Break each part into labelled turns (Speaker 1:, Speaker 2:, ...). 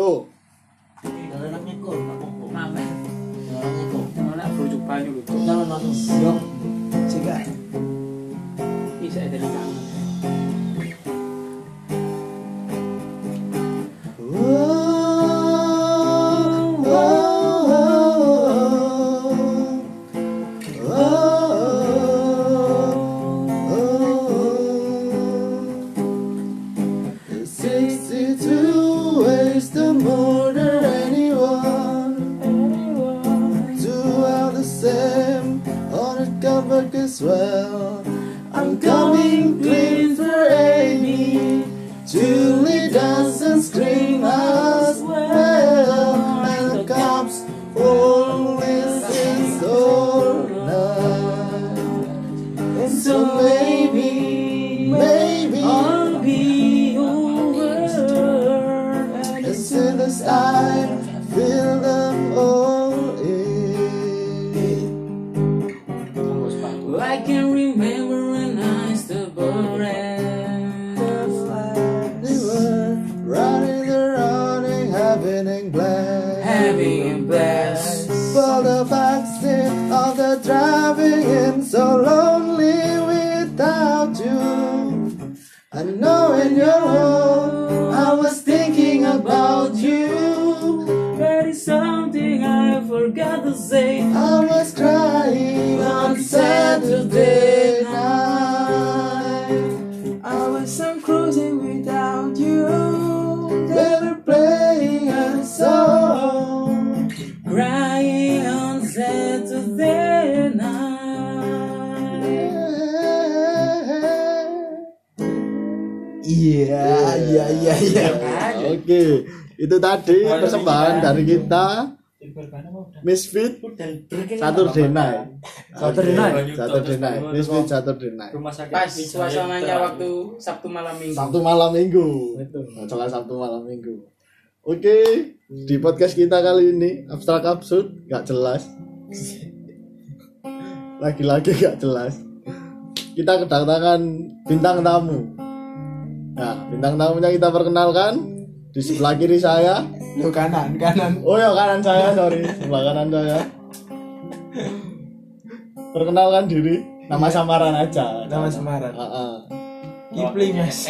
Speaker 1: Tuh.
Speaker 2: Jangan anaknya kok, Pak Kongko.
Speaker 3: Mamet,
Speaker 2: Jangan anaknya kok.
Speaker 3: mana berujuk banyu gitu.
Speaker 2: Jangan langsung siok.
Speaker 1: Sehingga
Speaker 3: Bisa dari tangan.
Speaker 1: Sixty-two ways to murder anyone. Two are the same on a comeback as well. I'm coming clean for Amy. Julie doesn't scream as well. And the cops always is night. And so maybe, maybe I'll be over. And soon as I feel them all in.
Speaker 3: Monggo sepatu.
Speaker 4: I can remember when I stood
Speaker 1: They were running, they're running, having a blast.
Speaker 4: having a blast.
Speaker 1: For the vaccine of the driving in so lonely without you. I know in your home I was thinking about you.
Speaker 4: That is something I forgot to say
Speaker 1: I was crying on Saturday night.
Speaker 4: I was some cruising without you
Speaker 1: They were playing a song.
Speaker 4: Crying on Saturday night
Speaker 1: Iya, iya, iya, iya. Oke, itu tadi persembahan dari kita Misfit Saturday Night.
Speaker 2: Saturday night.
Speaker 1: Oke, Saturday Night. Misfit Saturday Night.
Speaker 5: rumah sakit
Speaker 3: Pas suasananya waktu Sabtu malam minggu.
Speaker 1: Sabtu malam Minggu. Acara Sabtu malam Minggu. Oke, di podcast kita kali ini abstrak absurd, nggak jelas. Lagi-lagi nggak jelas. Kita kedatangan bintang tamu. Nah, bintang tamunya kita perkenalkan di sebelah kiri saya.
Speaker 2: Lu kanan, kanan.
Speaker 1: Oh ya kanan saya, sorry, sebelah kanan saya. Perkenalkan diri, nama samaran aja.
Speaker 2: Iya. Nama samaran.
Speaker 1: Ah, ah.
Speaker 2: Kipling, Mas.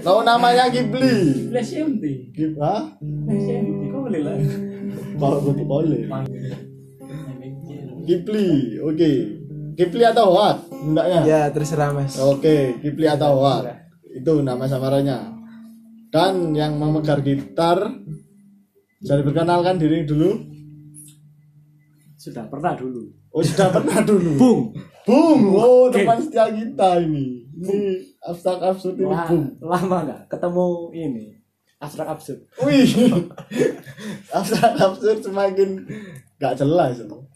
Speaker 1: Tahu namanya Ghibli.
Speaker 3: Flash empty.
Speaker 1: Ghibli, ah?
Speaker 3: Flash empty. Kok boleh lah.
Speaker 1: Kalau bentuk oleh Kipli, oke Kipli atau Hoat? Hendaknya
Speaker 2: Ya, terserah, Mas.
Speaker 1: Oke, Kipli atau Hoat Itu nama samarannya Dan yang memegang gitar Bisa diperkenalkan diri dulu
Speaker 3: Sudah pernah dulu.
Speaker 1: Oh sudah pernah dulu
Speaker 3: Bung.
Speaker 1: Bung, oh teman setia kita ini Ini abstrak absurd ini
Speaker 3: Wah,
Speaker 1: Bung
Speaker 3: lama nggak ketemu ini abstrak absurd.
Speaker 1: Wih Abstrak absurd semakin gak jelas loh.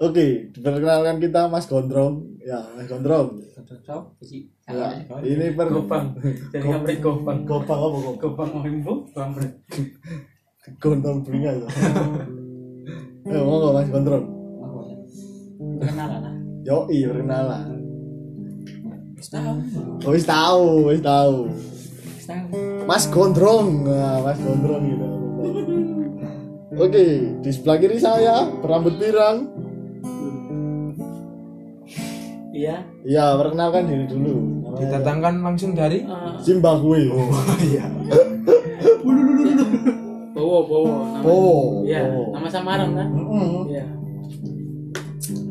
Speaker 1: Oke, diperkenalkan kita Mas Gondrong Ya, Mas Gondrong Ya, ini per
Speaker 3: Gopang. Iya. Jadi nggak beri gopang.
Speaker 1: Gopang apa gopang?
Speaker 3: Gopang mau ibu. Gopang beri.
Speaker 1: Gondrong beringas. Eh, mau nggak mas gondrong?
Speaker 3: Kenalan ya? lah.
Speaker 1: Yo, iya perkenalan. Oh, wis tahu, wis tahu. Mas Gondrong, nah, Mas Gondrong gitu. Oke, di sebelah kiri saya berambut pirang.
Speaker 3: Iya.
Speaker 1: Iya, perkenalkan diri dulu. Namanya
Speaker 2: Didatangkan langsung dari
Speaker 3: Eh,
Speaker 1: Zimbabwe.
Speaker 2: iya.
Speaker 3: Bowo bowo. nama-
Speaker 1: Oh,
Speaker 3: Iya.
Speaker 1: oh.
Speaker 3: Nama samaran kan?
Speaker 1: Mm-mm.
Speaker 3: Iya.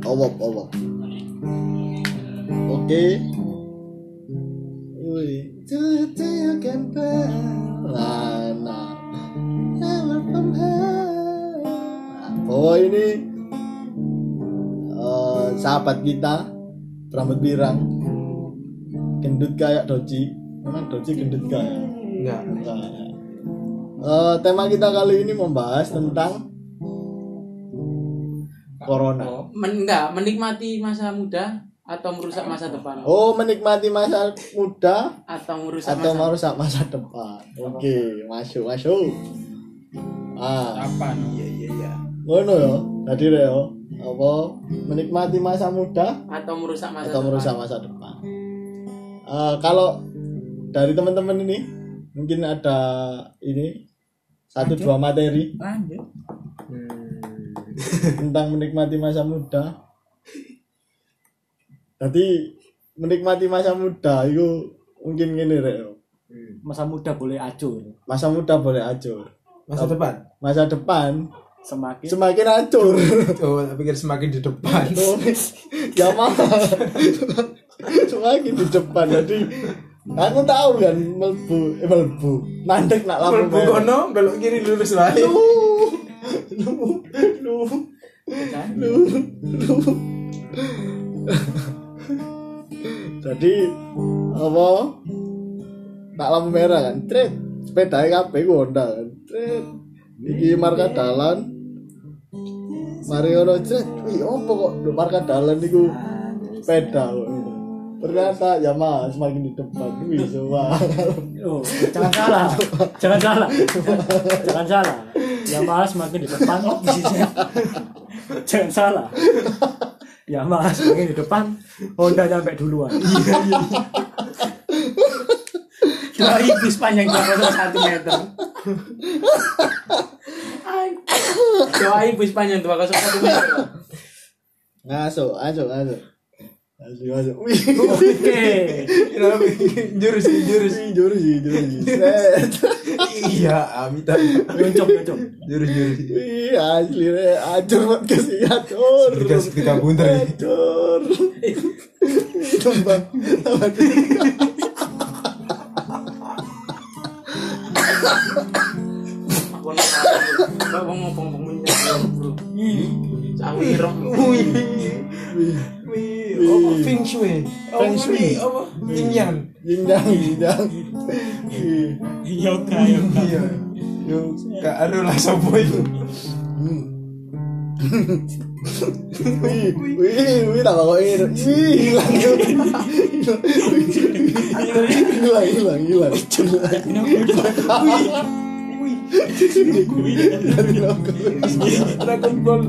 Speaker 1: Awap, awap. Oke. Wih. Nah, nah. Never from home. Nah, Oh ini eh, sahabat kita rambut pirang gendut kayak doji memang doji gendut kayak
Speaker 2: Enggak.
Speaker 1: Nah, eh, tema kita kali ini membahas tentang corona
Speaker 3: Men, enggak, menikmati masa muda atau merusak masa depan
Speaker 1: Oh, menikmati masa muda
Speaker 3: atau merusak
Speaker 1: atau
Speaker 3: masa
Speaker 1: merusak masa depan. Oke, masuk, masuk. Ah,
Speaker 5: apa
Speaker 2: Iya, iya, iya.
Speaker 1: ngono ya. Tadi Reo, apa menikmati masa muda
Speaker 3: atau merusak masa
Speaker 1: atau
Speaker 3: depan.
Speaker 1: merusak masa depan? Ah, kalau dari teman-teman ini mungkin ada ini satu dua materi
Speaker 4: Lanjut.
Speaker 1: tentang menikmati masa muda. Jadi menikmati masa muda itu mungkin gini rek. ya.
Speaker 5: masa muda boleh acur
Speaker 1: Masa muda boleh acur.
Speaker 2: Masa depan?
Speaker 1: Masa depan
Speaker 5: semakin
Speaker 1: semakin acur.
Speaker 2: Oh, tak pikir semakin di depan.
Speaker 1: ya mah. semakin di depan jadi aku tahu kan melbu eh, melbu mandek nak lampu
Speaker 2: Melbu
Speaker 1: merah.
Speaker 2: kono, belok kiri lurus lain.
Speaker 1: Lu, lu, lu, lu, lu. Jadi apa? Tak lampu merah kan, tret. Sepeda HP ku Honda kan, tret. Iki marka dalan. Mari ono tret. Wih, opo kok do marka dalan niku sepeda kok. Ternyata ya mas semakin di depan wih semua.
Speaker 5: oh, jangan salah jangan salah jangan salah ya malas makin di depan jangan salah ya malas makin di depan Honda nyampe duluan Iya, Kira ibis panjang 2,1 meter
Speaker 3: Doa ibus panjang dua kosong satu meter.
Speaker 1: Ngasuk, ngasuk, ngasuk. Ngasuk, ngasuk. Wih.
Speaker 5: Oke
Speaker 2: Kenapa? Jurus, jurus.
Speaker 1: Ih, jurus sih, jurus sih. Set.
Speaker 2: Iya, amit amit.
Speaker 5: Nyuncuk, nyuncuk
Speaker 2: Jurus, jurus.
Speaker 1: Wih, asli re, acur podcast ini, acur.
Speaker 2: Berkas kita bunter nih.
Speaker 1: Acur. Tambah, tambah tiga.
Speaker 3: Aku nggak tahu. ngomong ngomong menyerang bro. Aku nyerang.
Speaker 2: Wih, wih, apa feng shui?
Speaker 1: Feng shui.
Speaker 2: Apa? Yin yang.
Speaker 1: Yin yang, yin yang. Ih,
Speaker 5: Yoga,
Speaker 2: Iya. Yo, gak ada lah sopo itu.
Speaker 1: Wih, wih, wih, tambah kok ini. Wih, hilang, hilang. Hilang, hilang, hilang. Hilang.
Speaker 2: Wih,
Speaker 1: Hilang.
Speaker 2: Dragon Ball.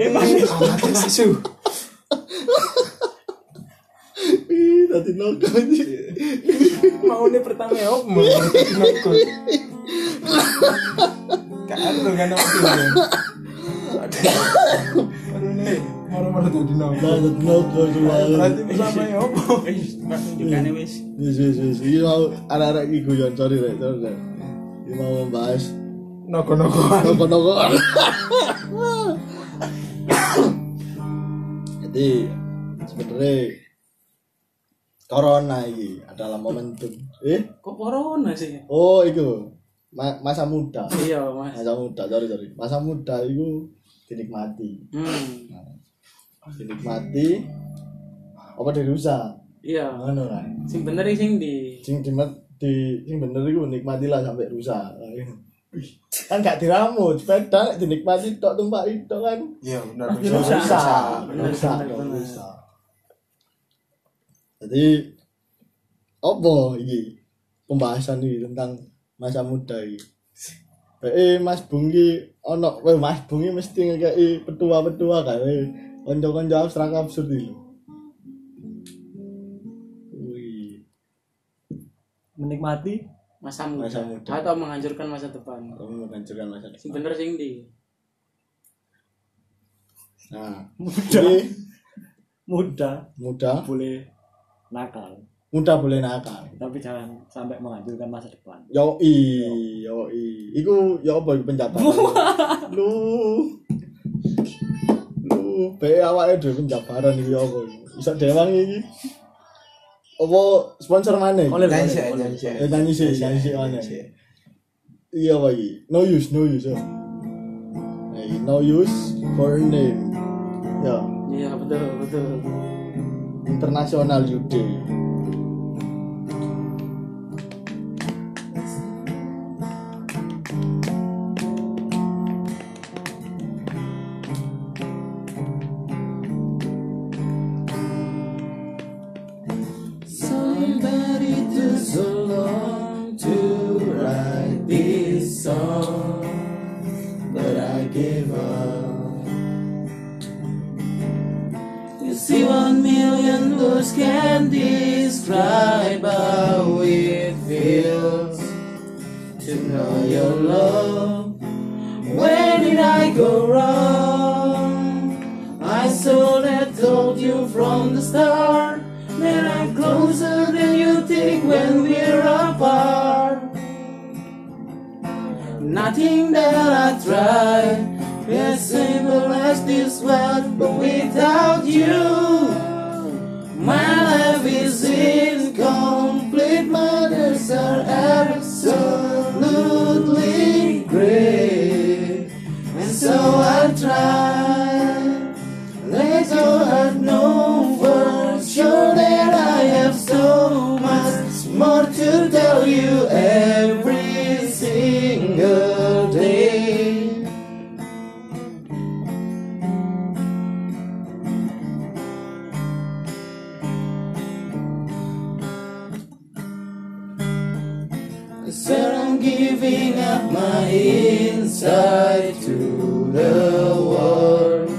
Speaker 2: Emang amat langsung.
Speaker 1: Wih, tadi nongkrong, anjing.
Speaker 2: Mau nih pertama ya, mau nongkrong. Kan lo kan nongkrong. Aduh. Aduh nih, moro-moro tadi
Speaker 1: Nah,
Speaker 2: nongkrong.
Speaker 1: tadi nongkrong, kemarin.
Speaker 2: Berarti pertama ya, apa?
Speaker 5: Iya,
Speaker 3: Mas tunjukkannya wis.
Speaker 1: Wis wis wis. Iki mau arek-arek iki guyon sorry rek, sorry rek. Iki mau membahas
Speaker 2: Noko-nokoan.
Speaker 1: noko-noko. Jadi sebenarnya corona iki adalah momentum. Eh,
Speaker 3: Kok corona sih?
Speaker 1: oh itu Ma- masa muda.
Speaker 3: Iya mas.
Speaker 1: Masa muda, sorry sorry. Masa muda itu dinikmati,
Speaker 3: Hmm.
Speaker 1: dinikmati. Apa dirusak?
Speaker 3: Iya.
Speaker 1: Ngono lah.
Speaker 3: Sing bener iki sing di.
Speaker 1: sing dimat di sing bener iku nikmatilah sampai rusak kan gak diramu sepeda nek dinikmati tok tumpak itu kan
Speaker 2: Iya, benar.
Speaker 5: Rusak.
Speaker 1: rusak
Speaker 3: Bener,
Speaker 1: rusak
Speaker 3: bener,
Speaker 1: dong,
Speaker 3: bener.
Speaker 1: rusak jadi opo iki pembahasan iki tentang masa muda iki Eh Mas Bungi ono eh, Mas Bungi mesti ngekei petua-petua gawe kanca-kanca abstrak absurd iki. Wih.
Speaker 5: Menikmati
Speaker 3: Masa muda.
Speaker 1: Masa muda.
Speaker 3: Atau menghancurkan masa depan.
Speaker 1: kamu menghancurkan masa depan.
Speaker 3: Sing bener sing di.
Speaker 1: Nah,
Speaker 5: Muda
Speaker 1: jadi
Speaker 5: Muda
Speaker 1: muda,
Speaker 5: Boleh nakal
Speaker 1: muda boleh nakal.
Speaker 5: Tapi jangan sampai menghancurkan masa depan
Speaker 1: Yoi, yoi. Iku ya apa iku pencapaian? Lu. Lu be awake dhewe penjabaran iki ya apa iku? Iso dewang iki. Apa sponsor mana? iki?
Speaker 5: Oleh
Speaker 2: Nyanyi sih, nyanyi
Speaker 5: boleh
Speaker 2: sih.
Speaker 1: Eh, Oh, nyanyi sih, nyanyi sih, nyanyi sih. Iya apa iki? No use, no use. ya. Eh, no use for a name. Ya,
Speaker 3: Iya betul betul.
Speaker 1: internasional Yude.
Speaker 3: Somebody to so long to write this song, but I gave up. You see, one million words can describe how it feels.
Speaker 1: to know your love. Where did I go wrong? I should have told you from the start that I'm closer than you think when we're apart. Nothing that I try is simple as this one, but without you, my life is incomplete. My days are absolutely great, and so I try. Let your heart know for sure that I have so much more to tell you every single day. I said I'm giving up my inside to the world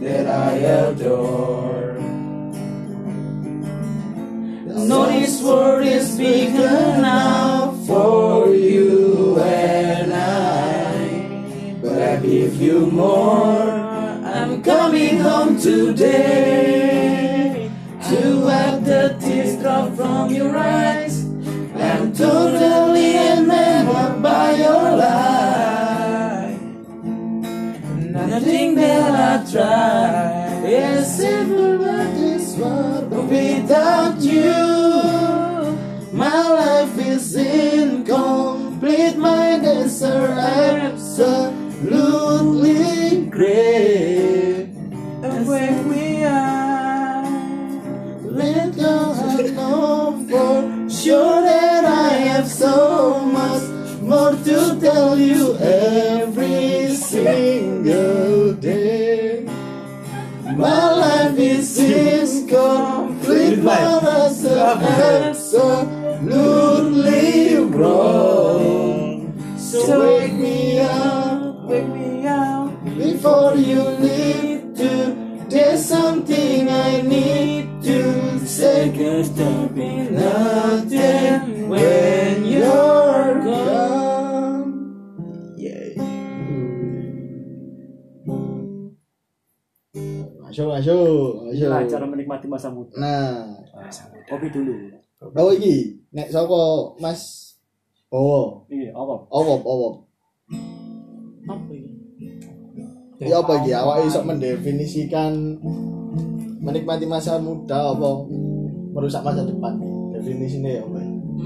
Speaker 1: that I adore. No, this world is bigger now for you and I. But I give you more. I'm coming home today to wipe the tears drop from your eyes. I'm totally enamored by your light. Nothing that I try is simple but this world. But without you, my life is incomplete. My days are absolutely great.
Speaker 4: And where we are,
Speaker 1: Let go I know for sure that I have so much more to tell you every single day. My life is incomplete, but as absolutely wrong. So wake me up
Speaker 4: wake me up.
Speaker 1: before you leave to. There's something I need to say.
Speaker 4: Cause there'll be
Speaker 1: nothing when you're gone. Masuk, masuk,
Speaker 5: Inilah cara menikmati masa muda.
Speaker 1: Nah,
Speaker 5: Kopi dulu.
Speaker 1: apa iki? Nek soko Mas Oh,
Speaker 5: Iya, apa?
Speaker 1: awop, awop.
Speaker 3: Apa ini?
Speaker 1: Ya apa iki? Awak iso mendefinisikan menikmati masa muda apa merusak masa depan? Definisinya ya, apa?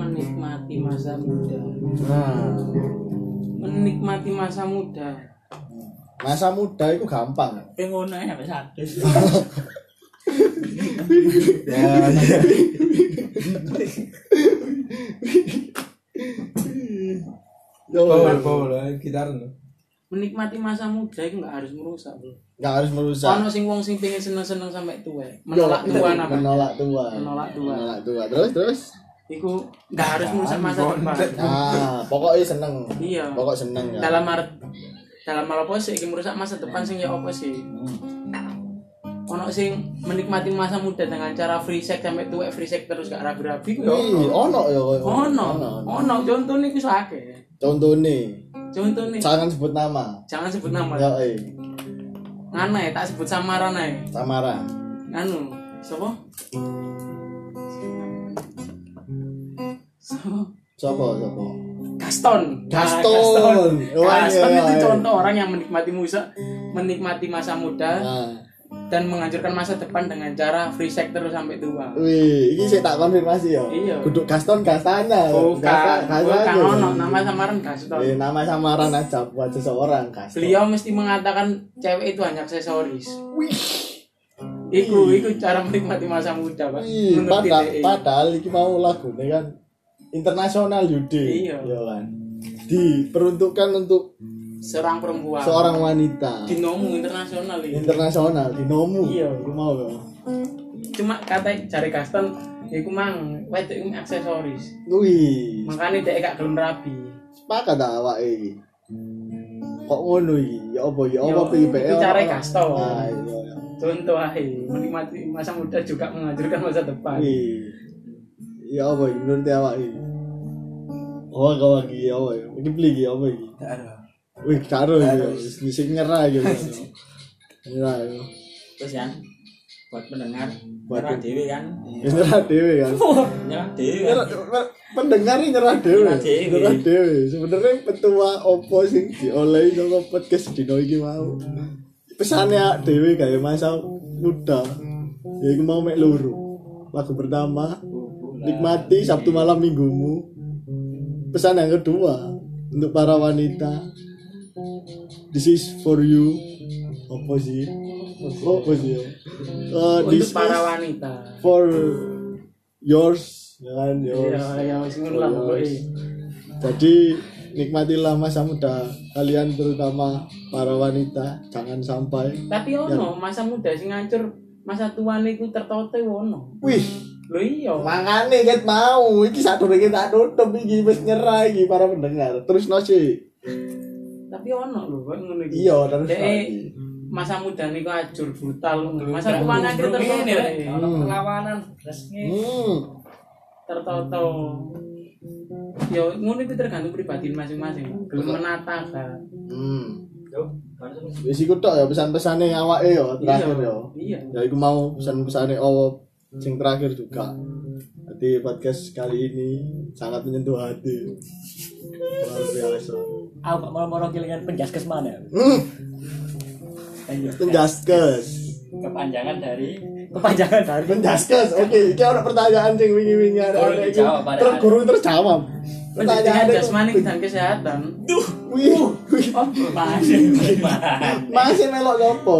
Speaker 3: Menikmati masa muda.
Speaker 1: Nah,
Speaker 3: Menikmati masa muda.
Speaker 1: masa muda itu gampang
Speaker 3: Pengono ya sampai sadis. Ya.
Speaker 2: Bawa
Speaker 1: yo
Speaker 2: bawa lah gitar no.
Speaker 3: Menikmati masa muda itu nggak harus merusak, Bro.
Speaker 1: nggak harus merusak
Speaker 3: Ono sing wong sing pengen seneng-seneng sampai tua.
Speaker 1: Yo,
Speaker 3: Menolak tua namanya.
Speaker 1: menolak tua
Speaker 3: Menolak tua.
Speaker 1: menolak tua terus terus
Speaker 3: Iku nggak harus merusak masa depan.
Speaker 1: nah pokoknya seneng
Speaker 3: Iya.
Speaker 1: pokok seneng ya
Speaker 3: dalam art dalam hal apa sih yang merusak masa depan sing ya apa sih
Speaker 1: Hmm.
Speaker 3: ono sing menikmati masa muda dengan cara free sex sampai tuwek free sex terus gak ragu-ragu iku ya
Speaker 1: Wih, ono ya
Speaker 3: ono ono contoh niku sakit
Speaker 1: contoh nih
Speaker 3: contoh nih
Speaker 1: jangan sebut nama
Speaker 3: jangan sebut nama
Speaker 1: ya eh
Speaker 3: ngana ya tak sebut samaran ae
Speaker 1: Samara
Speaker 3: nganu sapa sapa
Speaker 1: Sopo, sopo.
Speaker 3: Gaston. Nah,
Speaker 1: Gaston. Oh, iya,
Speaker 3: Gaston
Speaker 1: iya,
Speaker 3: itu
Speaker 1: iya.
Speaker 3: contoh orang yang menikmati musa, menikmati masa muda,
Speaker 1: Nah,
Speaker 3: dan menghancurkan masa depan dengan cara free sex terus sampai tua.
Speaker 1: wih, ini saya tak konfirmasi ya.
Speaker 3: Iya.
Speaker 1: Duduk Gaston Gastana.
Speaker 3: Bukan,
Speaker 1: Gasta-
Speaker 3: bukan
Speaker 1: Gastana.
Speaker 3: ono nama samaran Gaston.
Speaker 1: Eh, nama samaran aja buat seseorang Gaston.
Speaker 3: Beliau mesti mengatakan cewek itu hanya aksesoris. Iku, iku cara menikmati masa muda, Pak.
Speaker 1: Wih,
Speaker 3: Menurut E.
Speaker 1: padahal,
Speaker 3: DTI.
Speaker 1: padahal iki mau lagu ini kan internasional Yudi.
Speaker 3: Iya.
Speaker 1: Ya kan. Diperuntukkan untuk
Speaker 3: seorang perempuan.
Speaker 1: seorang wanita
Speaker 3: dinomu internasional iya. ini.
Speaker 1: internasional di nomu.
Speaker 3: Iya.
Speaker 1: Iku mau ya.
Speaker 3: Cuma kata cari Gaston, iku mang, wedok iku aksesoris.
Speaker 1: Wih,
Speaker 3: Makanya dia gak gelem rabi.
Speaker 1: sepakat ta awak iki. Kok ngono iki? Ya apa ya apa
Speaker 3: Yo,
Speaker 1: PIPE.
Speaker 3: iki
Speaker 1: E ora-
Speaker 3: cara
Speaker 1: ora-
Speaker 3: Gaston.
Speaker 1: Ah, iya. iya.
Speaker 3: Contoh ae, menikmati masa muda juga
Speaker 1: Iya.
Speaker 3: menghancurkan masa depan.
Speaker 1: Wih. Ya apa iki menurut awak iki? Oh, kau lagi apa ya? Ini beli iki apa iki?
Speaker 2: Tidak ada.
Speaker 1: Wih, karo ya. Musik nyerah gitu. Nyerah. ya.
Speaker 3: terus ya buat pendengar
Speaker 1: Buat pen-
Speaker 3: buat dewi kan
Speaker 1: Ya, Nyerah dewe kan.
Speaker 3: nyerah dewi kan
Speaker 1: Nyerah- nyerah- Pendengar ini nyerah dewe.
Speaker 3: Nyerah dewe.
Speaker 1: Nyerah dewe. Sebenarnya petua opo sing diolehi saka podcast dino iki mau. Pesane awak dewe gawe masa muda. Ya iku mau mek loro. Lagu pertama, nikmati Sabtu malam minggumu. Pesan yang kedua untuk para wanita. This is for you. Apa sih? Oh, apa sih? Eh,
Speaker 3: untuk
Speaker 1: this
Speaker 3: para
Speaker 1: is
Speaker 3: wanita
Speaker 1: for yours, ya kan? Yours.
Speaker 3: ya ya wis ngono lah pokoknya
Speaker 1: Jadi nikmatilah masa muda kalian terutama para wanita jangan sampai
Speaker 3: tapi ono masa muda sing ngancur masa tua niku tertote ono
Speaker 1: wih
Speaker 3: lho iya
Speaker 1: mangane ket mau iki sadurunge tak tutup iki wis nyerah iki para pendengar terus no sih
Speaker 3: tapi ono lho kok ngono iki
Speaker 1: iya terus
Speaker 3: Dek,
Speaker 1: no, iki.
Speaker 3: masa muda niku ajur brutal masa tua ngancur tertote
Speaker 6: perlawanan resmi
Speaker 1: hmm
Speaker 3: tertoto ya ngono itu tergantung pribadi masing-masing belum menata kan
Speaker 1: hmm
Speaker 6: Yo, barusan
Speaker 1: wis iku tok ya pesan-pesane awake ya terakhir ya
Speaker 3: iya
Speaker 1: ya iku mau pesan-pesane owo sing terakhir juga jadi podcast kali ini sangat menyentuh hati luar biasa
Speaker 5: Aku kok moro-moro kelingan penjaskes mana?
Speaker 1: hmm
Speaker 5: Ayo.
Speaker 1: penjaskes
Speaker 6: kepanjangan dari
Speaker 5: Kepanjangan dari
Speaker 1: Penjaskas, oke. Ini ada pertanyaan sing wingi-wingi ada
Speaker 6: Guru
Speaker 1: ada
Speaker 6: dijawab,
Speaker 1: iki.
Speaker 6: ada-
Speaker 1: Terus guru terjawab.
Speaker 3: pendidikan
Speaker 1: itu-
Speaker 3: jasmani dan kesehatan
Speaker 1: Duh, wih, wih. masih melok apa?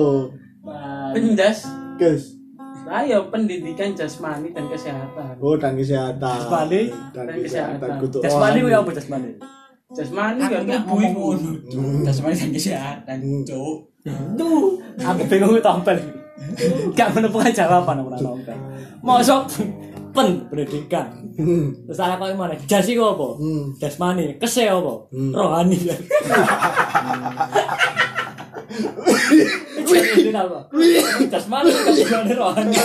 Speaker 3: pendas
Speaker 1: Guys,
Speaker 3: ayo pendidikan jasmani dan kesehatan
Speaker 1: oh dan kesehatan.
Speaker 5: Jasmani.
Speaker 1: dan
Speaker 3: Dan
Speaker 1: kesehatan.
Speaker 3: kesehatan.
Speaker 1: Kutu
Speaker 5: Jasmani
Speaker 1: orang.
Speaker 5: kuwi apa jasmani?
Speaker 3: jasmani
Speaker 6: aku
Speaker 3: ya
Speaker 6: nggak
Speaker 3: tubuh
Speaker 6: ngomong
Speaker 3: iku.
Speaker 6: ngono Cuk. Tasmania dan kesehatan cuk
Speaker 5: Duh, aku bingung tampil. Gak menemukan jawaban aku nak tampil. Mosok pen pendidikan. Terus aku kok mana? Jas iku apa?
Speaker 1: Hmm.
Speaker 5: Jasmani, kese apa?
Speaker 1: Hmm.
Speaker 5: Rohani. Jadi apa? Jasmani, jasmani rohani.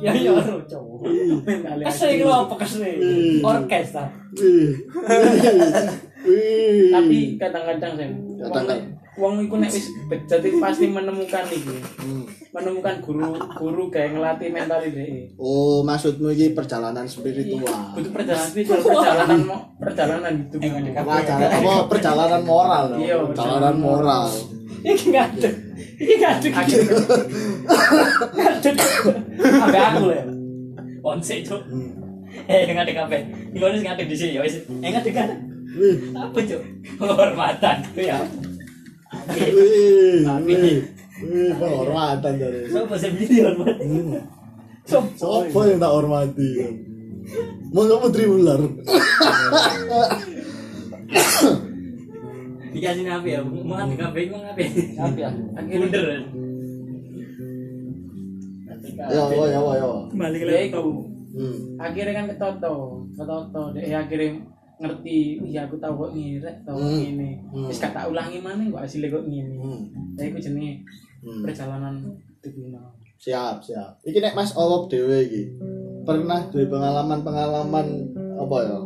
Speaker 5: Ya ya ro cowok.
Speaker 1: Hmm.
Speaker 5: Kese iku apa kese? Orkestra.
Speaker 1: Wih. Wih.
Speaker 3: tapi kadang-kadang sih
Speaker 1: Kadang-kadang.
Speaker 3: wong iku nek wis bejat iku pasti menemukan iku
Speaker 1: Hmm.
Speaker 3: menemukan guru guru kayak ngelatih mental ide
Speaker 1: Oh, maksudmu ini perjalanan spiritual.
Speaker 3: itu perjalanan spiritual perjalanan mo- perjalanan
Speaker 5: Eh,
Speaker 3: hidup
Speaker 1: Eh, Perjalanan apa? Perjalanan moral. no?
Speaker 3: Iya,
Speaker 1: perjalanan
Speaker 3: perjalanan
Speaker 1: moral.
Speaker 5: Iki ngadeg. Iki ngadeg. Ngadeg. Ambe aku lho.
Speaker 6: onse cuk
Speaker 1: Hmm.
Speaker 6: eh ngadeg apa ini harus ngadeg di sini ya wis eh ngadeg kan apa cuk hormatan ya
Speaker 1: Wih. Wih. Wih, penghormatan dari.
Speaker 6: Sopo sih beli hormatan
Speaker 1: Siapa yang tak hormati? Mau kamu Putri Ular?
Speaker 6: dikasih apa ya mau ngadeg apa mau ngadeg
Speaker 3: tapi ya akhirnya
Speaker 6: bunder
Speaker 1: Ya, ya, ya, ya. Hmm,
Speaker 6: kembali ke
Speaker 3: ya iku. akhirnya kan ketoto ketoto deh eh, akhirnya ngerti iya aku tahu kok ngirek tau
Speaker 1: Hmm.
Speaker 3: ini
Speaker 1: Hmm.
Speaker 3: terus kata ulangi mana kok hasilnya kok ngini
Speaker 1: Hmm.
Speaker 3: ya iku jenenge
Speaker 1: Hmm.
Speaker 3: perjalanan hidup
Speaker 1: Siap, siap. Iki nek Mas Olop dewe iki. Pernah duwe pengalaman-pengalaman apa ya?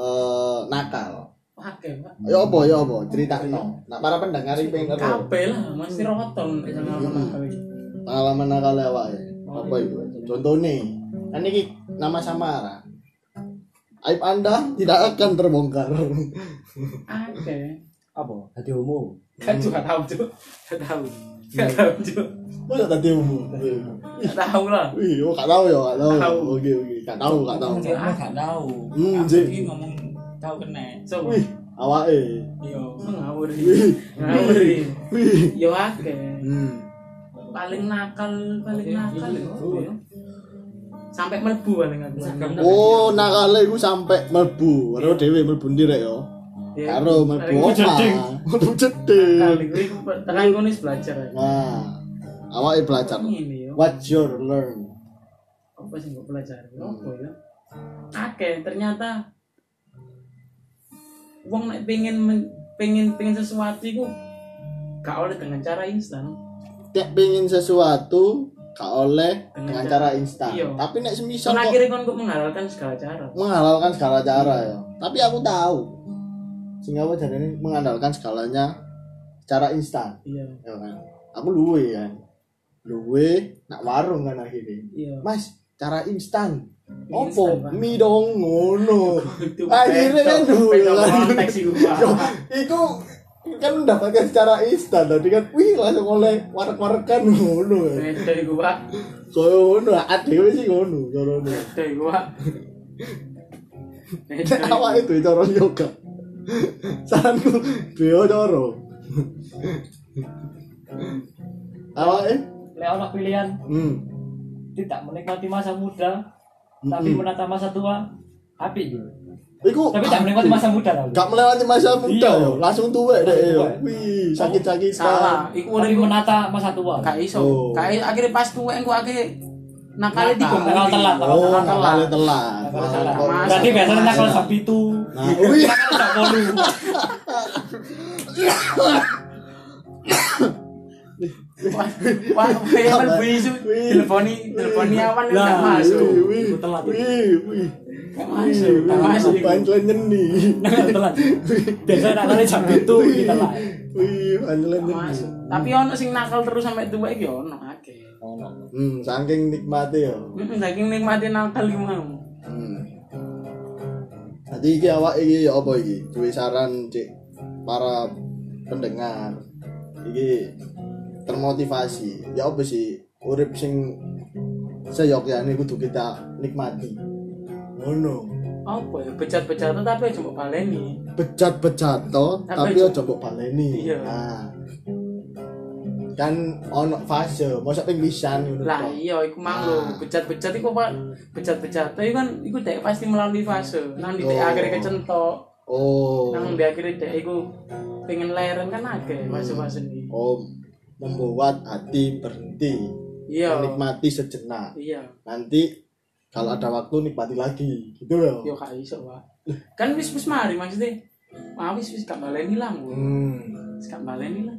Speaker 1: Eh, nakal.
Speaker 3: Oke, Pak.
Speaker 1: Ya apa, ya apa? Critakno. Nah, para pendengar iki pengen ngerti
Speaker 3: kabeh lah mesti rotol nek
Speaker 1: Hmm.
Speaker 3: sama sama kabeh.
Speaker 1: pengalaman nakal awake. Apa itu? Contohnya, kan iki nama samaran. Aib Anda tidak akan terbongkar.
Speaker 3: Oke.
Speaker 5: Apa? Hati homo.
Speaker 3: Kan juga tahu juga. Gak tahu. Gak tahu juga.
Speaker 1: Masa tadi umum.
Speaker 3: Gak tahu lah.
Speaker 1: Wih, oh gak tahu ya, gak tahu.
Speaker 3: Tahu.
Speaker 1: Oke, oke, gak tahu, gak tahu.
Speaker 6: Cuk, aku gak tahu
Speaker 1: Hmm,
Speaker 6: aku
Speaker 1: Cuk.
Speaker 6: ini ngomong tahu kena
Speaker 3: So,
Speaker 1: Wih, awake.
Speaker 6: yo
Speaker 3: ngawur
Speaker 1: Wih,
Speaker 3: Ngawur
Speaker 1: wih.
Speaker 3: Yo akeh.
Speaker 1: Hmm.
Speaker 3: Paling nakal, paling nakal. ya, apa ya? Sampai mlebu paling aku.
Speaker 1: Oh, nakale iku sampe mlebu, karo dhewe mlebu ndi rek yo.
Speaker 3: Ya,
Speaker 1: Karo mlebu
Speaker 3: paling
Speaker 1: omah. Mlebu
Speaker 3: nakal.
Speaker 1: jeding.
Speaker 3: Iku tekan kono wis belajar. ya.
Speaker 1: Nah, awake belajar.
Speaker 3: Ini yo.
Speaker 1: What your learn?
Speaker 3: apa sih nggak pelajari apa ya akeh ternyata uang nek pengen men- pengen pengen sesuatu itu gak oleh dengan cara instan
Speaker 1: Nek pengin sesuatu gak oleh dengan
Speaker 3: Dengan
Speaker 1: cara
Speaker 3: cara-
Speaker 1: instan.
Speaker 3: iya.
Speaker 1: Tapi nek semisal
Speaker 3: Kan
Speaker 1: kok
Speaker 3: akhirnya kon kok menghalalkan segala cara.
Speaker 1: menghalalkan segala cara ya. Tapi aku tahu. Singapura jadi ini mengandalkan segalanya cara instan,
Speaker 3: Iya,
Speaker 1: ya kan. Aku luwe kan. Luwe nak warung kan akhirnya.
Speaker 3: iya.
Speaker 1: Mas, cara instan.
Speaker 3: Instan,
Speaker 1: Opo,
Speaker 3: Bang.
Speaker 1: mie dong ngono.
Speaker 3: Itu
Speaker 1: Akhirnya kan dulu
Speaker 3: beda
Speaker 1: kan.
Speaker 3: konteks itu, Pak.
Speaker 1: Yo, Iku kan mendapatkan secara instan tadi kan wih langsung oleh warak-warakan ngono ya.
Speaker 3: Beda iku, Pak.
Speaker 1: Kaya ngono adewe sih ngono carane.
Speaker 3: Beda iku, Pak. Beda
Speaker 1: Nek
Speaker 3: iku.
Speaker 1: awake duwe cara yoga. Saranku duwe cara. Awake?
Speaker 6: Lek ono pilihan
Speaker 1: Hmm.
Speaker 6: tidak menikmati masa muda, tapi
Speaker 1: Mm-mm.
Speaker 6: menata masa tua, api.
Speaker 1: Iku
Speaker 6: Tapi tidak menikmati masa muda tau.
Speaker 1: gak melewati masa muda
Speaker 6: Iya.
Speaker 1: yo, langsung tuwek deh yo.
Speaker 6: Tuwek.
Speaker 1: Wih, sakit-sakit
Speaker 3: Salah. Iku
Speaker 6: Tapi
Speaker 3: ngene
Speaker 6: menata masa tua.
Speaker 3: gak iso.
Speaker 1: Oh.
Speaker 3: Gak iso. akhirnya pas tuwek engko akhirnya nakale digombali.
Speaker 6: Nakal telat, nakal
Speaker 1: Oh,
Speaker 3: telat.
Speaker 1: nakal telat.
Speaker 6: Nakal telat.
Speaker 1: Nakal
Speaker 3: Mas.
Speaker 6: Berarti
Speaker 1: telat.
Speaker 6: biasanya nakal jam itu.
Speaker 1: Nah, wih.
Speaker 6: Nakal jam bolu.
Speaker 3: Wah, wah, kan bisu. Teleponi, teleponi awan kan gak masuk.
Speaker 1: Wih, wih,
Speaker 5: Aku telat.
Speaker 1: wih, wih.
Speaker 3: Gak masuk, gak masuk. iku.
Speaker 1: Pancelan nyeni.
Speaker 5: telat biasanya nak kali jam itu
Speaker 1: Wih,
Speaker 5: kita lah
Speaker 1: Wih, pancelan
Speaker 3: Gak
Speaker 1: nyeni.
Speaker 3: masuk. Tapi ono sing nakal terus sampe tuwek iki ono akeh.
Speaker 1: Hmm, saking nikmati ya.
Speaker 3: Heeh, saking nikmati nakal iki mau.
Speaker 1: Hmm. Jadi iki awak iki ya apa iki? Duwe saran cik para pendengar. Iki termotivasi. Ya apa sih urip sing seyogyane kudu kita nikmati. Ngono.
Speaker 3: Apa ya becat-becatan tapi aja mbok baleni.
Speaker 1: Bejat-bejat to, tapi
Speaker 3: Tapi
Speaker 1: aja mbok baleni.
Speaker 3: Iya.
Speaker 1: Nah. Kan ono fase, mosok ping pisan ngono.
Speaker 3: Lah
Speaker 1: to.
Speaker 3: iya iku mang lho,
Speaker 1: Nah.
Speaker 3: bejat-bejat iku Pak. Bejat-bejat iku kan iku dek pasti melalui fase. Nang di
Speaker 1: Oh.
Speaker 3: dek akhirnya kecentok,
Speaker 1: Oh.
Speaker 3: nang di akhirnya dek iku pengen leren kan akeh fase-fase ini.
Speaker 1: Oh, membuat hati berhenti
Speaker 3: Iya.
Speaker 1: menikmati sejenak
Speaker 3: Iya.
Speaker 1: nanti kalau ada waktu nikmati lagi gitu loh
Speaker 3: Hmm. Yo gak iso, Pak. Kan wis wis mari maksudnya. Ah wis wis gak baleni lah. Mbok.
Speaker 1: hmm,
Speaker 3: Wis gak baleni lah.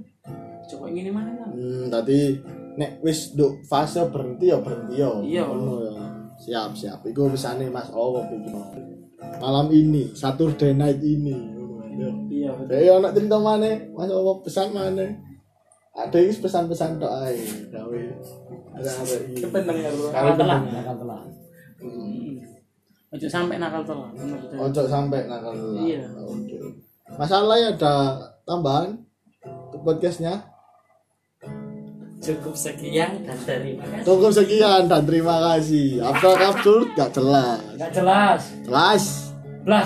Speaker 3: Coba ngene mana lah.
Speaker 1: hmm tadi nek wis duk fase berhenti ya berhenti ya
Speaker 3: Iya.
Speaker 1: Ngono ya. siap siap iku wisane Mas Owo iki malam ini Saturday night ini Ngono ya.
Speaker 3: Iya, betul.
Speaker 1: Dek ana cerita maneh, Mas Owo pesan maneh. Ada wis pesan-pesan tok ae gawe. Ada-ada iki.
Speaker 3: Kependengar, Pak.
Speaker 1: Gawe
Speaker 5: telat
Speaker 1: pendengar.
Speaker 5: nakal telat
Speaker 1: Hmm.
Speaker 3: Ojo sampai nakal telat menurut saya.
Speaker 1: Ojo sampai nakal telat.
Speaker 3: Iya.
Speaker 1: Oke. Masalahnya ada tambahan ke podcastnya.
Speaker 6: Cukup sekian dan terima kasih.
Speaker 1: Cukup sekian dan terima kasih. Absurd absurd gak jelas.
Speaker 6: Gak jelas.
Speaker 1: Jelas.